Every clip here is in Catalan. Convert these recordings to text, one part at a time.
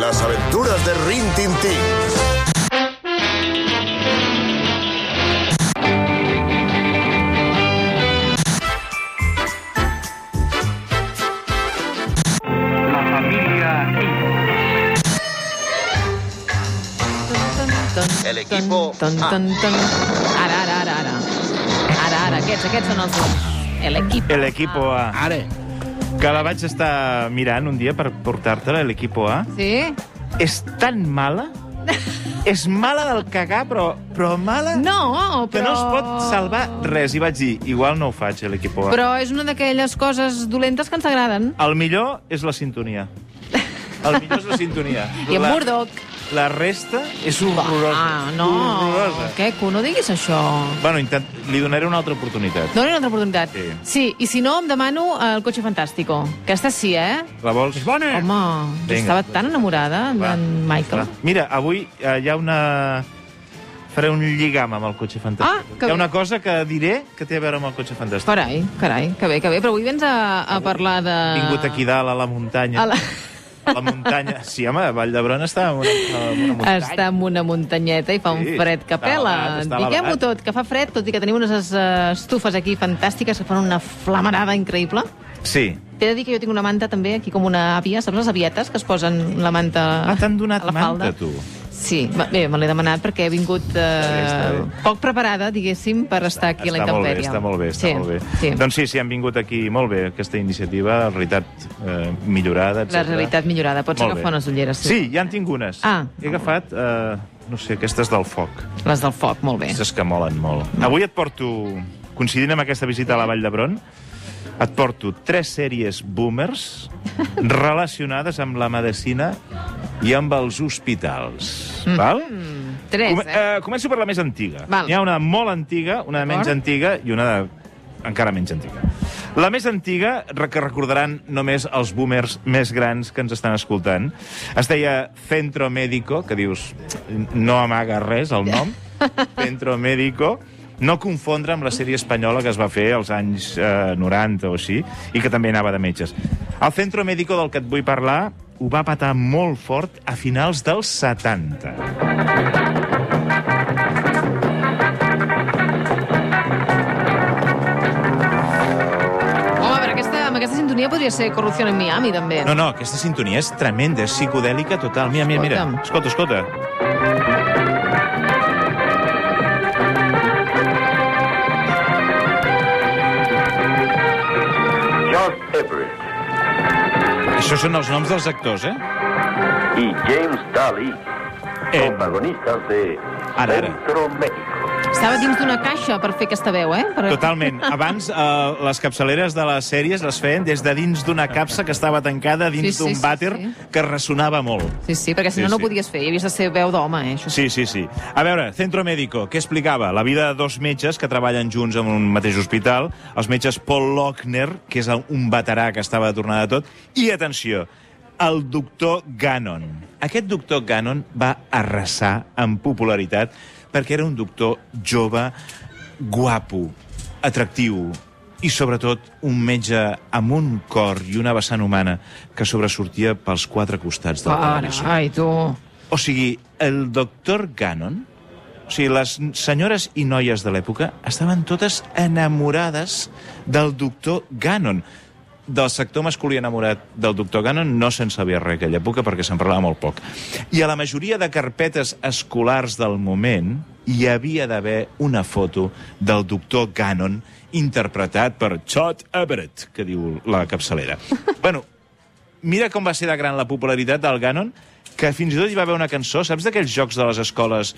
Las aventuras de Rin Tin Tin. La familia El equipo ah. A. Ara, ara, ara, ara. Ara, ara, aquests, aquests són els bons. El equipo. El equipo A. Ara. Que la vaig estar mirant un dia per portar-te-la, el equipo A. Sí? És tan mala... És mala del cagar, però, però mala... No, però... Que no es pot salvar res. I vaig dir, igual no ho faig, el equipo A. Però és una d'aquelles coses dolentes que ens agraden. El millor és la sintonia. El millor és la sintonia. I en La- Murdoch. La resta és horrorosa. Ah, no. Horrorosa. Que eco, no diguis això. Bueno, intent... li donaré una altra oportunitat. Dóna una altra oportunitat. Sí. sí, i si no, em demano eh, el cotxe fantàstico. Aquesta sí, eh? La vols? Bona. Home, jo Vinga. estava tan enamorada Va, d'en Michael. Va. Mira, avui eh, hi ha una... Faré un lligam amb el cotxe fantàstic. Ah, que hi ha bé. una cosa que diré que té a veure amb el cotxe fantàstic. Carai, carai, que bé, que bé. Però avui vens a, a parlar de... He vingut aquí dalt, a la muntanya. Ah. A la... A la muntanya. Sí, home, a Vall d'Hebron està en una, en una muntanya. Està en una muntanyeta i fa un Sí, fred que està pela. elevat, està Diguem-ho elevat. tot, que fa fred, tot i que tenim unes eh, estufes aquí fantàstiques que fan una flamarada increïble. Sí. T'he de dir que jo tinc una manta també, aquí com una àvia, saps les avietes que es posen la manta Ah, t'han donat a la falda? manta, tu. Sí, va- bé, me l'he demanat perquè he vingut està eh, bé. poc preparada, diguéssim, per estar aquí a la està molt bé, intempèrie. està molt bé, està sí, molt bé. Sí. Doncs sí, sí, han vingut aquí molt bé aquesta iniciativa, la realitat eh, millorada, etc. La realitat millorada. Pots agafar unes ulleres, sí. Sí, ja en tinc unes. Ah. He agafat, eh, no sé, aquestes del foc. Les del foc, molt bé. Aquestes que molen molt. Avui et porto, coincidint amb aquesta visita a la Vall d'Hebron, et porto tres sèries boomers relacionades amb la medicina i amb els hospitals. Val? Tres, Come- eh? eh, començo per la més antiga. Val. N'hi ha una molt antiga, una menys D'acord. antiga i una de... encara menys antiga. La més antiga, re- que recordaran només els boomers més grans que ens estan escoltant, es deia Centro Médico, que dius, no amaga res el nom, Centro Médico, no confondre amb la sèrie espanyola que es va fer als anys eh, 90 o així, i que també anava de metges. El Centro Médico del que et vull parlar ho va patar molt fort a finals dels 70. Home, però aquesta, amb aquesta sintonia podria ser Corrupció en Miami, també. No, no, aquesta sintonia és tremenda, és psicodèlica total. Mira, mira, mira. Escolta, escolta. George Everett Això són els noms dels actors, eh? y James Daly, Eh. protagonistas de Ara, ara. Centro Médico. Estava dins d'una caixa per fer aquesta veu, eh? Per... Totalment. Abans, eh, les capçaleres de les sèries les feien des de dins d'una capsa que estava tancada dins Sí, sí, d'un sí, vàter sí. que ressonava molt. Sí, sí, perquè si no, Sí, no sí. ho podies fer. Hi havies de ser veu d'home, eh? Això sí. Sí, sí, sí. A veure, Centro Médico, què explicava? La vida de dos metges que treballen junts en un mateix hospital, els metges Paul Lochner, que és el- un veterà que estava de tornada de tot, i, atenció, el doctor Gannon. Aquest doctor Gannon va arrasar en popularitat perquè era un doctor jove, guapo, atractiu, i sobretot un metge amb un cor i una vessant humana que sobresortia pels quatre costats del Ara, televisor. ai, tu... O sigui, el doctor Gannon, o sigui, les senyores i noies de l'època estaven totes enamorades del doctor Gannon. Del sector masculí enamorat del doctor Gannon no se'n sabia res aquella època perquè se'n parlava molt poc. I a la majoria de carpetes escolars del moment hi havia d'haver una foto del doctor Gannon interpretat per Chad Everett, que diu la capçalera. bueno, mira com va ser de gran la popularitat del Ganon, que fins i tot hi va haver una cançó, saps d'aquells jocs de les escoles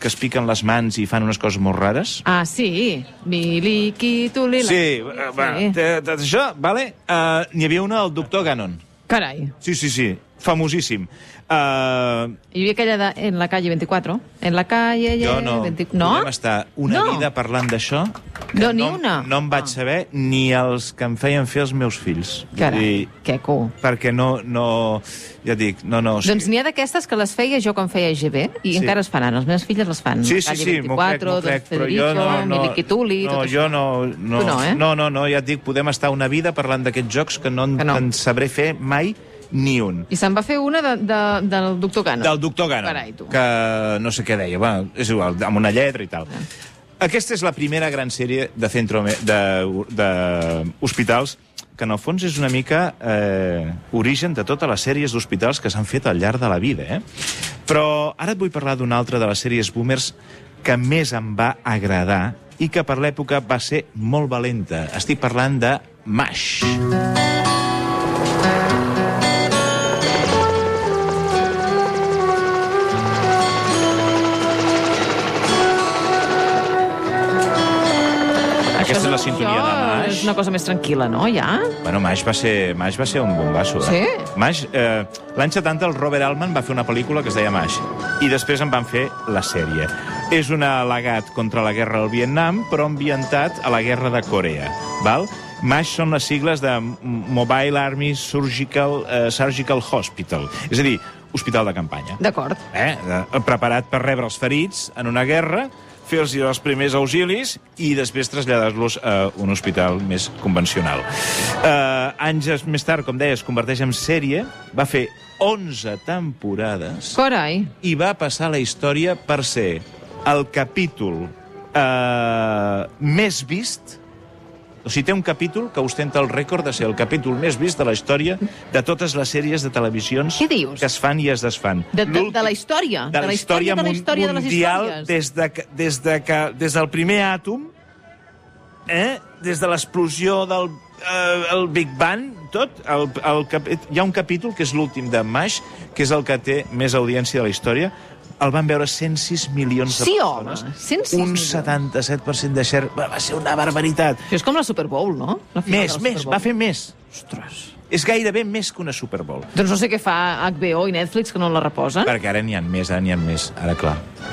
que es piquen les mans i fan unes coses molt rares? Ah, sí. Miliqui, tu li... Sí, eh, va, te- te- això, vale? Uh, N'hi havia una del doctor Ganon. Carai. Sí, sí, sí, famosíssim. Uh, Hi havia aquella de En la calle 24. En la calle... jo no, 20... No? podem estar una No. vida parlant d'això. que No, ni em- una. No em vaig saber ni els que em feien fer els meus fills. Vull Carai, dir, que cool. perquè no, no, ja et dic, no, no. o sigui- Doncs n'hi ha d'aquestes que les feia jo quan feia GB i Sí. encara es fan, ara. les meves filles les fan. Sí, La sí, Calle sí, m'ho crec, 24, m'ho Don crec, però Federico, jo no... no Miliqui Tuli, no, tot jo això. no, no, Tu no, eh? no, no, no, ja et dic, podem estar una vida parlant d'aquests jocs que no, en, Que no. en sabré fer mai ni un. I se'n va fer una de, de, del doctor Cano. Del doctor Gano, Carai, tu. que no sé què deia, va, és igual, amb una lletra i tal. Aquesta és la primera gran sèrie de, centro, de, de hospitals que en el fons és una mica eh, origen de totes les sèries d'hospitals que s'han fet al llarg de la vida. Eh? Però ara et vull parlar d'una altra de les sèries boomers que més em va agradar i que per l'època va ser molt valenta. Estic parlant de MASH. Aquesta és la sintonia de això MASH. És una cosa més tranquil·la, no, ja? Bueno, Mash va ser, Mash va ser un bombasso. Eh? Sí? Mash, eh, l'any 70 el Robert Altman va fer una pel·lícula que es deia Mash i després en van fer la sèrie. És un al·legat contra la guerra del Vietnam, però ambientat a la guerra de Corea. Val? MASH són les sigles de M- Mobile Army Surgical, eh, Surgical Hospital, és a dir, hospital de campanya D'acord. eh, eh, preparat per rebre els ferits en una guerra, fer-los els primers auxilis i després traslladar-los a un hospital més convencional. Eh, anys més tard, com deia, es converteix en sèrie, va fer 11 temporades Corai. i va passar a la història per ser el capítol eh, més vist o sigui, té un capítol que ostenta el rècord de ser el capítol més vist de la història de totes les sèries de televisions Què dius? que es fan i es desfan. De, de, L'últim- de la història. de la història, de la mun- història de les mundial històries. des, de, que- des, de que, des del primer àtom, eh? des de l'explosió del eh, el Big Bang, tot, el, el, cap- hi ha un capítol que és l'últim de Mash, que és el que té més audiència de la història, el van veure 106 milions de Sí, home, persones. 106 un milions. 77% de share. Va, va ser una barbaritat. Això és com la Super Bowl, no? La final de la Més, Super més, Bowl. va fer més. Ostres. És gairebé més que una Super Bowl. Doncs no sé què fa HBO i Netflix, que no la reposen. Perquè ara n'hi ha més, ara n'hi ha més. Ara, clar,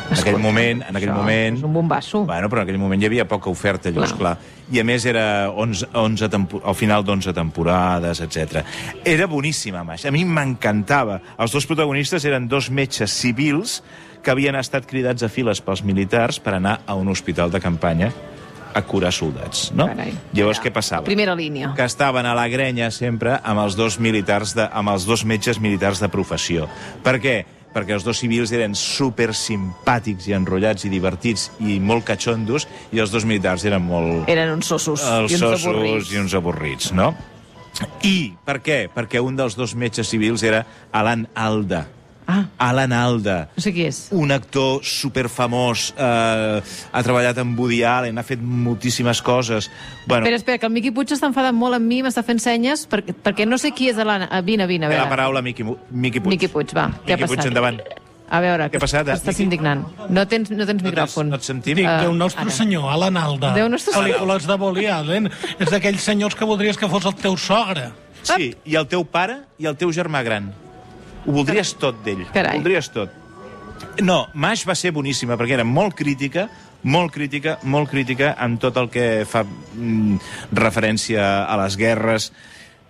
en aquell moment, en aquell Això moment... És un bombasso. Bueno, però en aquell moment hi havia poca oferta, llavors, clar. Clar. I a més era 11, 11 tempo, al final d'11 temporades, etc. Era boníssima, Maix. A mi m'encantava. Els dos protagonistes eren dos metges civils que havien estat cridats a files pels militars per anar a un hospital de campanya a curar soldats, no? Carai. Llavors, Ja. què passava? Primera línia. que estaven a la grenya sempre amb els dos militars de, amb els dos metges militars de professió. Per què? Perquè els dos civils eren super simpàtics i enrotllats i divertits i molt catxondos i els dos militars eren molt Eren uns sossos els i uns sossos avorrits. i uns avorrits, no? I per què? Perquè un dels dos metges civils era Alan Alda. Ah, Alan Alda, no sé qui és. un actor superfamós, eh, ha treballat amb Woody Allen, ha fet moltíssimes coses. Bueno, Espera, espera, que el Miqui Puig està enfadat molt amb mi, m'està fent senyes, perquè, perquè no sé qui és Alan... Ah, Vine, vine, a té veure. la paraula Miqui, Mu- Miqui Puig. Miqui Puig, va. què ha Miqui Puig, passat? endavant. A veure, Què ha passat, eh, estàs Miqui? indignant. No tens, no tens micròfon. No et sentim? Dic, Uh, Déu nostre Eh, ara. senyor, Alan Alda. Déu nostre senyor. Pel·lícules de Woody Allen. És d'aquells senyors que voldries que fos el teu sogre. eh, sí, i el teu pare i el teu germà gran. Ho voldries tot d'ell. Carai. Ho voldries tot. No, Mash va ser boníssima, perquè era molt crítica, molt crítica, molt crítica amb tot el que fa mm, referència a les guerres,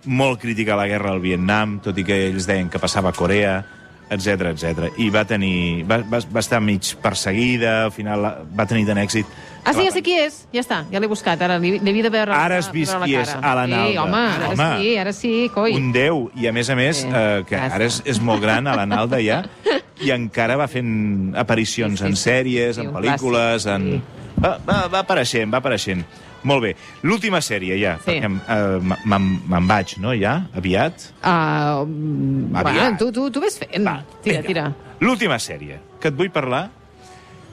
molt crítica a la guerra del Vietnam, tot i que ells deien que passava a Corea, etc etc. I va tenir... Va, va, va estar mig perseguida, al final la- va tenir tant èxit. Ah, sí, que la- ja sé qui és. Ja està, ja l'he buscat. Ara li, li havia de veure Ara has vist veure la qui és, cara. Alan Sí, Alda. home, ara Home. sí, ara sí, coi. un déu, i a més a més, Sí, eh, que ja ara és, està. és molt gran, a l'Analda ja, i encara va fent aparicions Sí, sí, en sí, sèries, sí, en un pel·lícules, clàssic, en... Va, va, va apareixent, va apareixent. Molt bé. L'última sèrie, ja, Sí. sí. perquè eh, me- me'n me'n vaig, no?, ja, aviat. Ah, mm, Aviat. bueno, tu, tu, tu ves fent. Va, tira, vinga. tira. L'última sèrie que et vull parlar...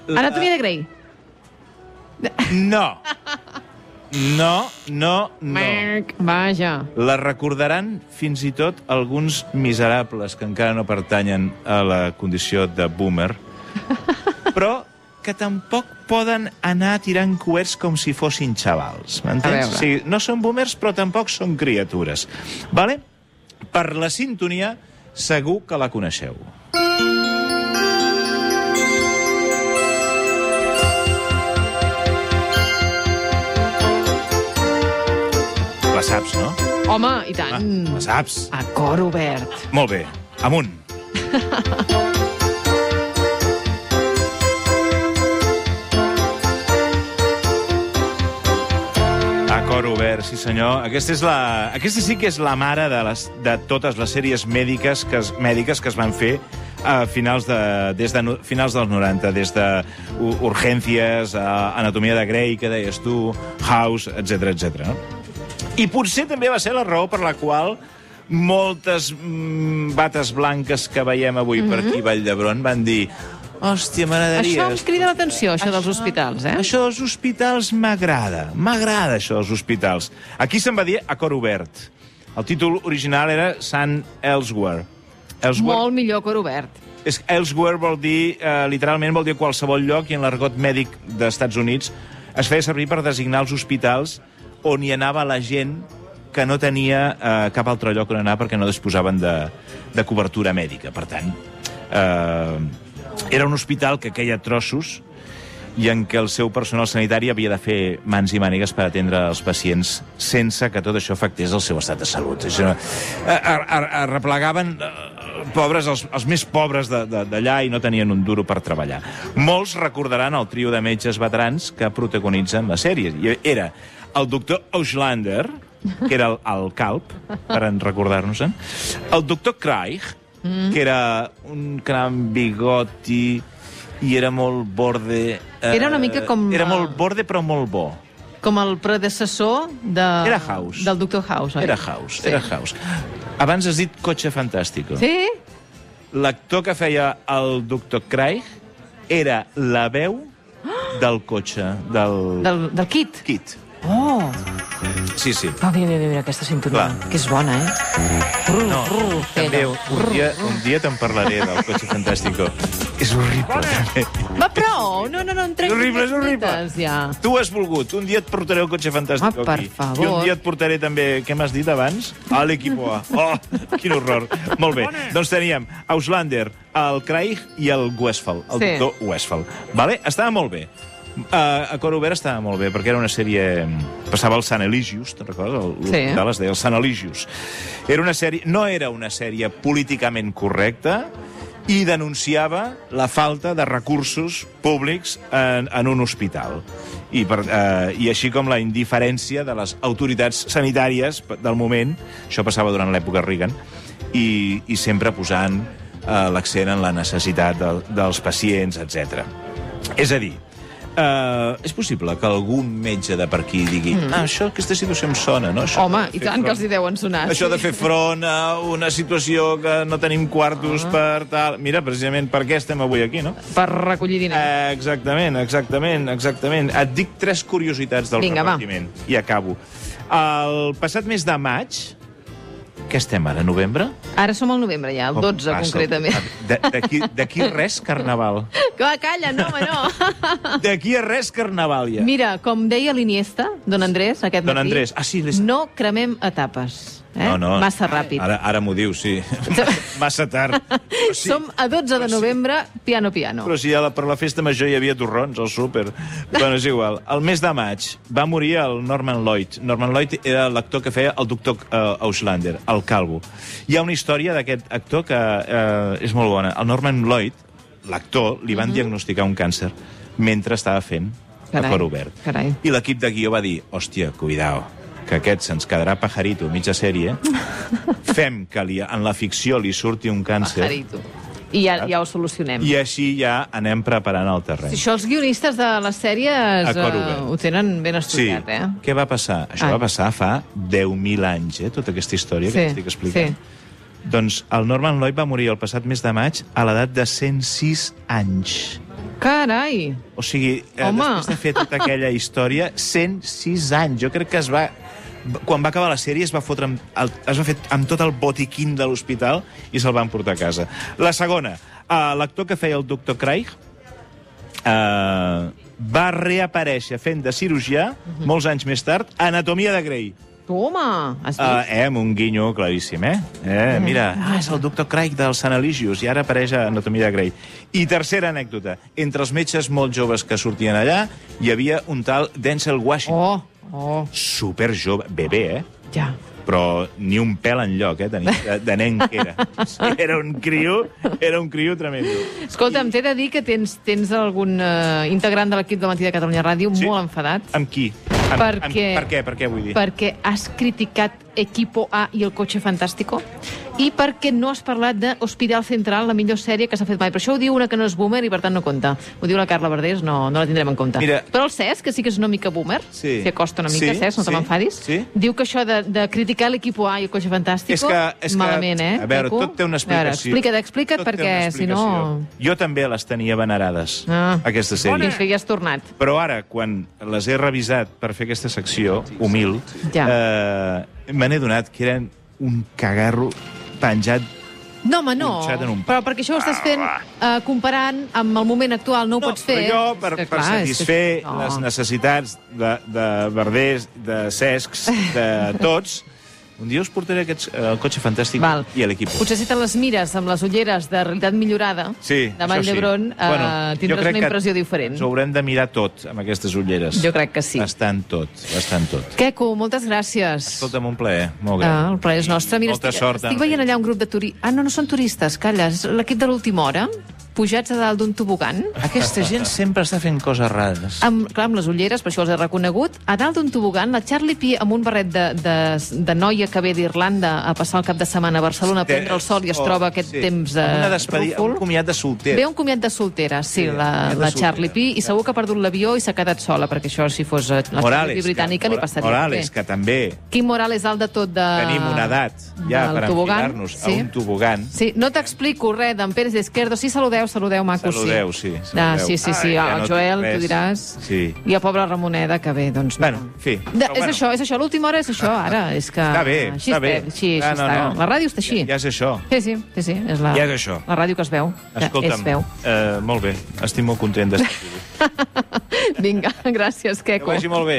Anatomia de Grey. No! No, no, no. Merc. Vaja. La recordaran fins i tot alguns miserables que encara no pertanyen a la condició de boomer, però que tampoc poden anar tirant coets com si fossin xavals, A m'entens? veure. O sigui, no són boomers, però tampoc són criatures. Vale? Per la sintonia, segur que la coneixeu. La saps, no? Home, i Ah, tant. la saps? A cor obert. Molt bé, amunt. A cor Cor obert, sí senyor. Aquesta, és la... Aquesta sí que és la mare de, les, de totes les sèries mèdiques que es, mèdiques que es van fer a finals, de, des de, no- finals dels 90, des de U- Urgències, a Anatomia de Grey, que deies tu, House, etc etc. No? I potser també va ser la raó per la qual moltes mm, bates blanques que veiem avui mm -hmm. per aquí a Vall d'Hebron van dir hòstia, m'agradaria... Mm-hmm. Això em crida l'atenció, això, dels Això- hospitals, eh? Això dels hospitals m'agrada, m'agrada això dels hospitals. Aquí se'n va dir a cor obert. El títol original era Sant Elsewhere. Elsewhere, Molt millor cor obert. és, elsewhere vol dir, eh, literalment vol dir qualsevol lloc i en l'argot mèdic d'Estats Units es feia servir per designar els hospitals on hi anava la gent que no tenia eh, cap altre lloc on anar perquè no disposaven de, de cobertura mèdica. Per tant, eh, era un hospital que queia a trossos i en què el seu personal sanitari havia de fer mans i mànigues per atendre els pacients sense que tot això afectés el seu estat de salut. Això, eh, ar- ar- arreplegaven eh, pobres, els, els més pobres de- de- d'allà i no tenien un duro per treballar. Molts recordaran el trio de metges veterans que protagonitzen la sèrie. I era el doctor Auslander, que era el, el calp, per en recordar-nos-en, el doctor Craig, que era un gran bigoti i era molt borde... eh, Era una mica com, Era eh, molt borde, però molt bo. Com el predecessor de... Era House. ah, del Dr. House, oi? Era House, sí. era House. Abans has dit Cotxe Fantàstico. Sí? L'actor que feia el doctor Craig era la veu del cotxe, del... Del, del kit. Kit. Oh! Sí, sí. Ah, mira, mira, mira, aquesta sintonia, Clar. que és bona, eh? No, també fent-ho. un un dia, un dia te'n parlaré del Cotxe Fantàstico. És horrible, també. Va, prou! No, no, no, em És trenqui horrible, és les horrible. mites, ja. Tu has volgut. Un dia et portaré el cotxe fantàstic Ah, per aquí. favor. I un dia et portaré també... Què m'has dit abans? A l'Equipo A. Oh, quin horror. Molt bé. Doncs teníem Auslander, el Craig i el Westphal, el Sí. doctor Westphal. Vale? Estava molt bé. Uh, a Cor Obert estava molt bé, perquè era una sèrie... mm, Passava el Sant Eligius, te'n recordes? El- L'hospital es deia el Sant Eligius. Era una sèrie... No era una sèrie políticament correcta, i denunciava la falta de recursos públics en, en un hospital. I, per, eh, I així com la indiferència de les autoritats sanitàries del moment, això passava durant l'època Reagan, i, i sempre posant eh, l'accent en la necessitat de, dels pacients, etc. És a dir, eh, és possible que algun metge de per aquí digui mm. ah, això, aquesta situació em sona, no? Això Home, de i fer tant que front." els hi deuen sonar. Això sí. de fer front a una situació que no tenim quartos Ah. per tal... Mira, precisament per què estem avui aquí, no? Per recollir diners. Eh, exactament, exactament, exactament. Et dic tres curiositats del Vinga, va. repartiment. I acabo. El passat mes de maig... Què estem ara, novembre? Ara som al novembre, ja, el Com 12, passa el- concretament. De- D'aquí d'aquí res, carnaval. Que calla, no, home, no. D'aquí a res, carnaval, ja. Mira, com deia l'Iniesta, don Andrés, aquest Don matí... Andrés. Ah, sí, l'est- No cremem etapes. Eh? No, no. Massa ràpid. Ara, ara m'ho dius, sí. Massa tard. Però sí. Som a 12 de novembre, piano, piano. Però si a la, per la festa major hi havia torrons al súper. Bueno, és igual. El mes de maig va morir el Norman Lloyd. Norman Lloyd era l'actor que feia el doctor uh, Auslander, el calvo. Hi ha una història d'aquest actor que uh, és molt bona. El Norman Lloyd, l'actor, li van diagnosticar un càncer mentre estava fent Mhm. Carai, a cor obert. carai. I l'equip de guió va dir, hòstia, cuidao, que aquest se'ns quedarà pajarito mitja sèrie. Fem que li, en la ficció li surti un càncer. Pajarito. I ja, ja ho solucionem. I així ja anem preparant el terreny. Si això els guionistes de les sèries A cor eh, obert. ho tenen ben estudiat, eh? Què va passar? Això Ah. va passar fa 10.000 anys, eh, tota aquesta història Sí, que t'estic explicant. Sí. Doncs el Norman Lloyd va morir el passat mes de maig a l'edat de 106 anys. Carai! O sigui, eh, Home. després de fer tota aquella història, 106 anys. Jo crec que es va... Quan va acabar la sèrie es va fotre amb, el, es va fer amb tot el botiquín de l'hospital i se'l van portar a casa. La segona, eh, l'actor que feia el doctor Craig, eh, va reaparèixer fent de cirurgià molts anys més tard a Anatomia de Grey. Toma! Has vist? Uh, eh, amb un guinyo claríssim, eh? eh mira, ah, és el doctor Craig del Sant Eligius i ara apareix a Anatomia de Grey. I tercera anècdota. Entre els metges molt joves que sortien allà hi havia un tal Denzel Washington. Oh, oh, Super jove, bebè, eh? ja. però ni un pèl en lloc, eh, tenia, de, de nen que era. Era un criu, era un criu tremendo. Escolta'm, t'he de dir que tens, tens algun eh, integrant de l'equip del Matí de Catalunya Ràdio Sí. molt enfadat. Amb qui? Perquè- per què? Per què vull dir? perquè has criticat Equipo A i el cotxe fantàstico i perquè no has parlat de Hospital Central, la millor sèrie que s'ha fet mai. Però això ho diu una que no és boomer i per tant no compta. Ho diu la Carla Verdés, no, no la tindrem en compte. Mira- Però el Cesc, que sí que és una mica boomer, Sí. s'hi acosta una mica, Sí, Cesc, no te sí, m'enfadis, sí. diu que això de, de criticar l'Equipo A i el cotxe fantàstico, És que, és malament, que, eh? A veure, Quico? tot té una A veure, explicació. explica't, explica't, Tot té perquè una si no... explicació. Jo també les tenia venerades, Ah. aquestes Fins sèries. que hi has tornat. Però ara, quan les he revisat per fer aquesta secció, humil, Ja. eh, me n'he donat que eren un cagarro penjat No, home, no. Punxat en un pa. Ah, Però perquè això ho estàs fent eh, comparant amb el moment actual, no ho pots fer. però jo, per, És que, per clar, és que- satisfer no. les necessitats de, de verders, de cescs, de tots, un dia us portaré aquests, eh, el cotxe fantàstic Val. i l'equip. Potser si te les mires amb les ulleres de realitat millorada, Sí, de Vall això sí. d'Hebron, eh, jo tindràs una crec que impressió diferent. Ens ho haurem de mirar tot, amb aquestes ulleres. Jo crec que sí. Bastant tot, bastant tot. Queco, moltes gràcies. Escolta'm, un plaer, molt gran. Ah, el plaer és nostre. Mira, Molta estic, sort. estic amb veient ells. allà un grup de turistes. Ah, no, no són turistes, calla, és l'equip de l'última hora, pujats a dalt d'un tobogan, Aquesta gent sempre està fent coses rares. amb, clar, amb les ulleres, per això els he reconegut, a dalt d'un tobogan, la Charlie P amb un barret de, de, de noia que ve d'Irlanda a passar el cap de setmana a Barcelona a prendre el sol i es Oh, troba aquest sí. temps de Una despedida, rúfol. un comiat de solter. Ve un comiat de soltera, sí, Sí, la, comiat de la soltera. Charlie P, i segur que ha perdut l'avió i s'ha quedat sola, perquè això, si fos eh, la Charlie P britànica, que, li passaria. Morales, bé. que també Quim Morales, alt de tot de... tenim una edat ja del per tobogan, enfilar-nos a un tobogan. Sí, no t'explico res d'en Pérez Izquierdo. Sí, saludeu, saludeu, macos, Saludeu, sí. sí, Ah, saludeu. sí, sí, sí. Ai, ja el no Joel, dic tu res. diràs. Sí. I el pobre Ramoneda, que bé, doncs... Bueno, mira. en fi. De, Però és bueno. això, és això. L'última hora és això, ara. És que... Està bé, Ah, així està bé. estem, Així, així Ah, no, està. no. La ràdio està així. Ja, ja és això. Sí, sí, sí, sí. És la, Ja és això. La ràdio que es veu. que Escolta'm, Es veu. eh, molt bé, estic molt content d'estar aquí. Vinga, gràcies, Que Queco. vagi molt bé.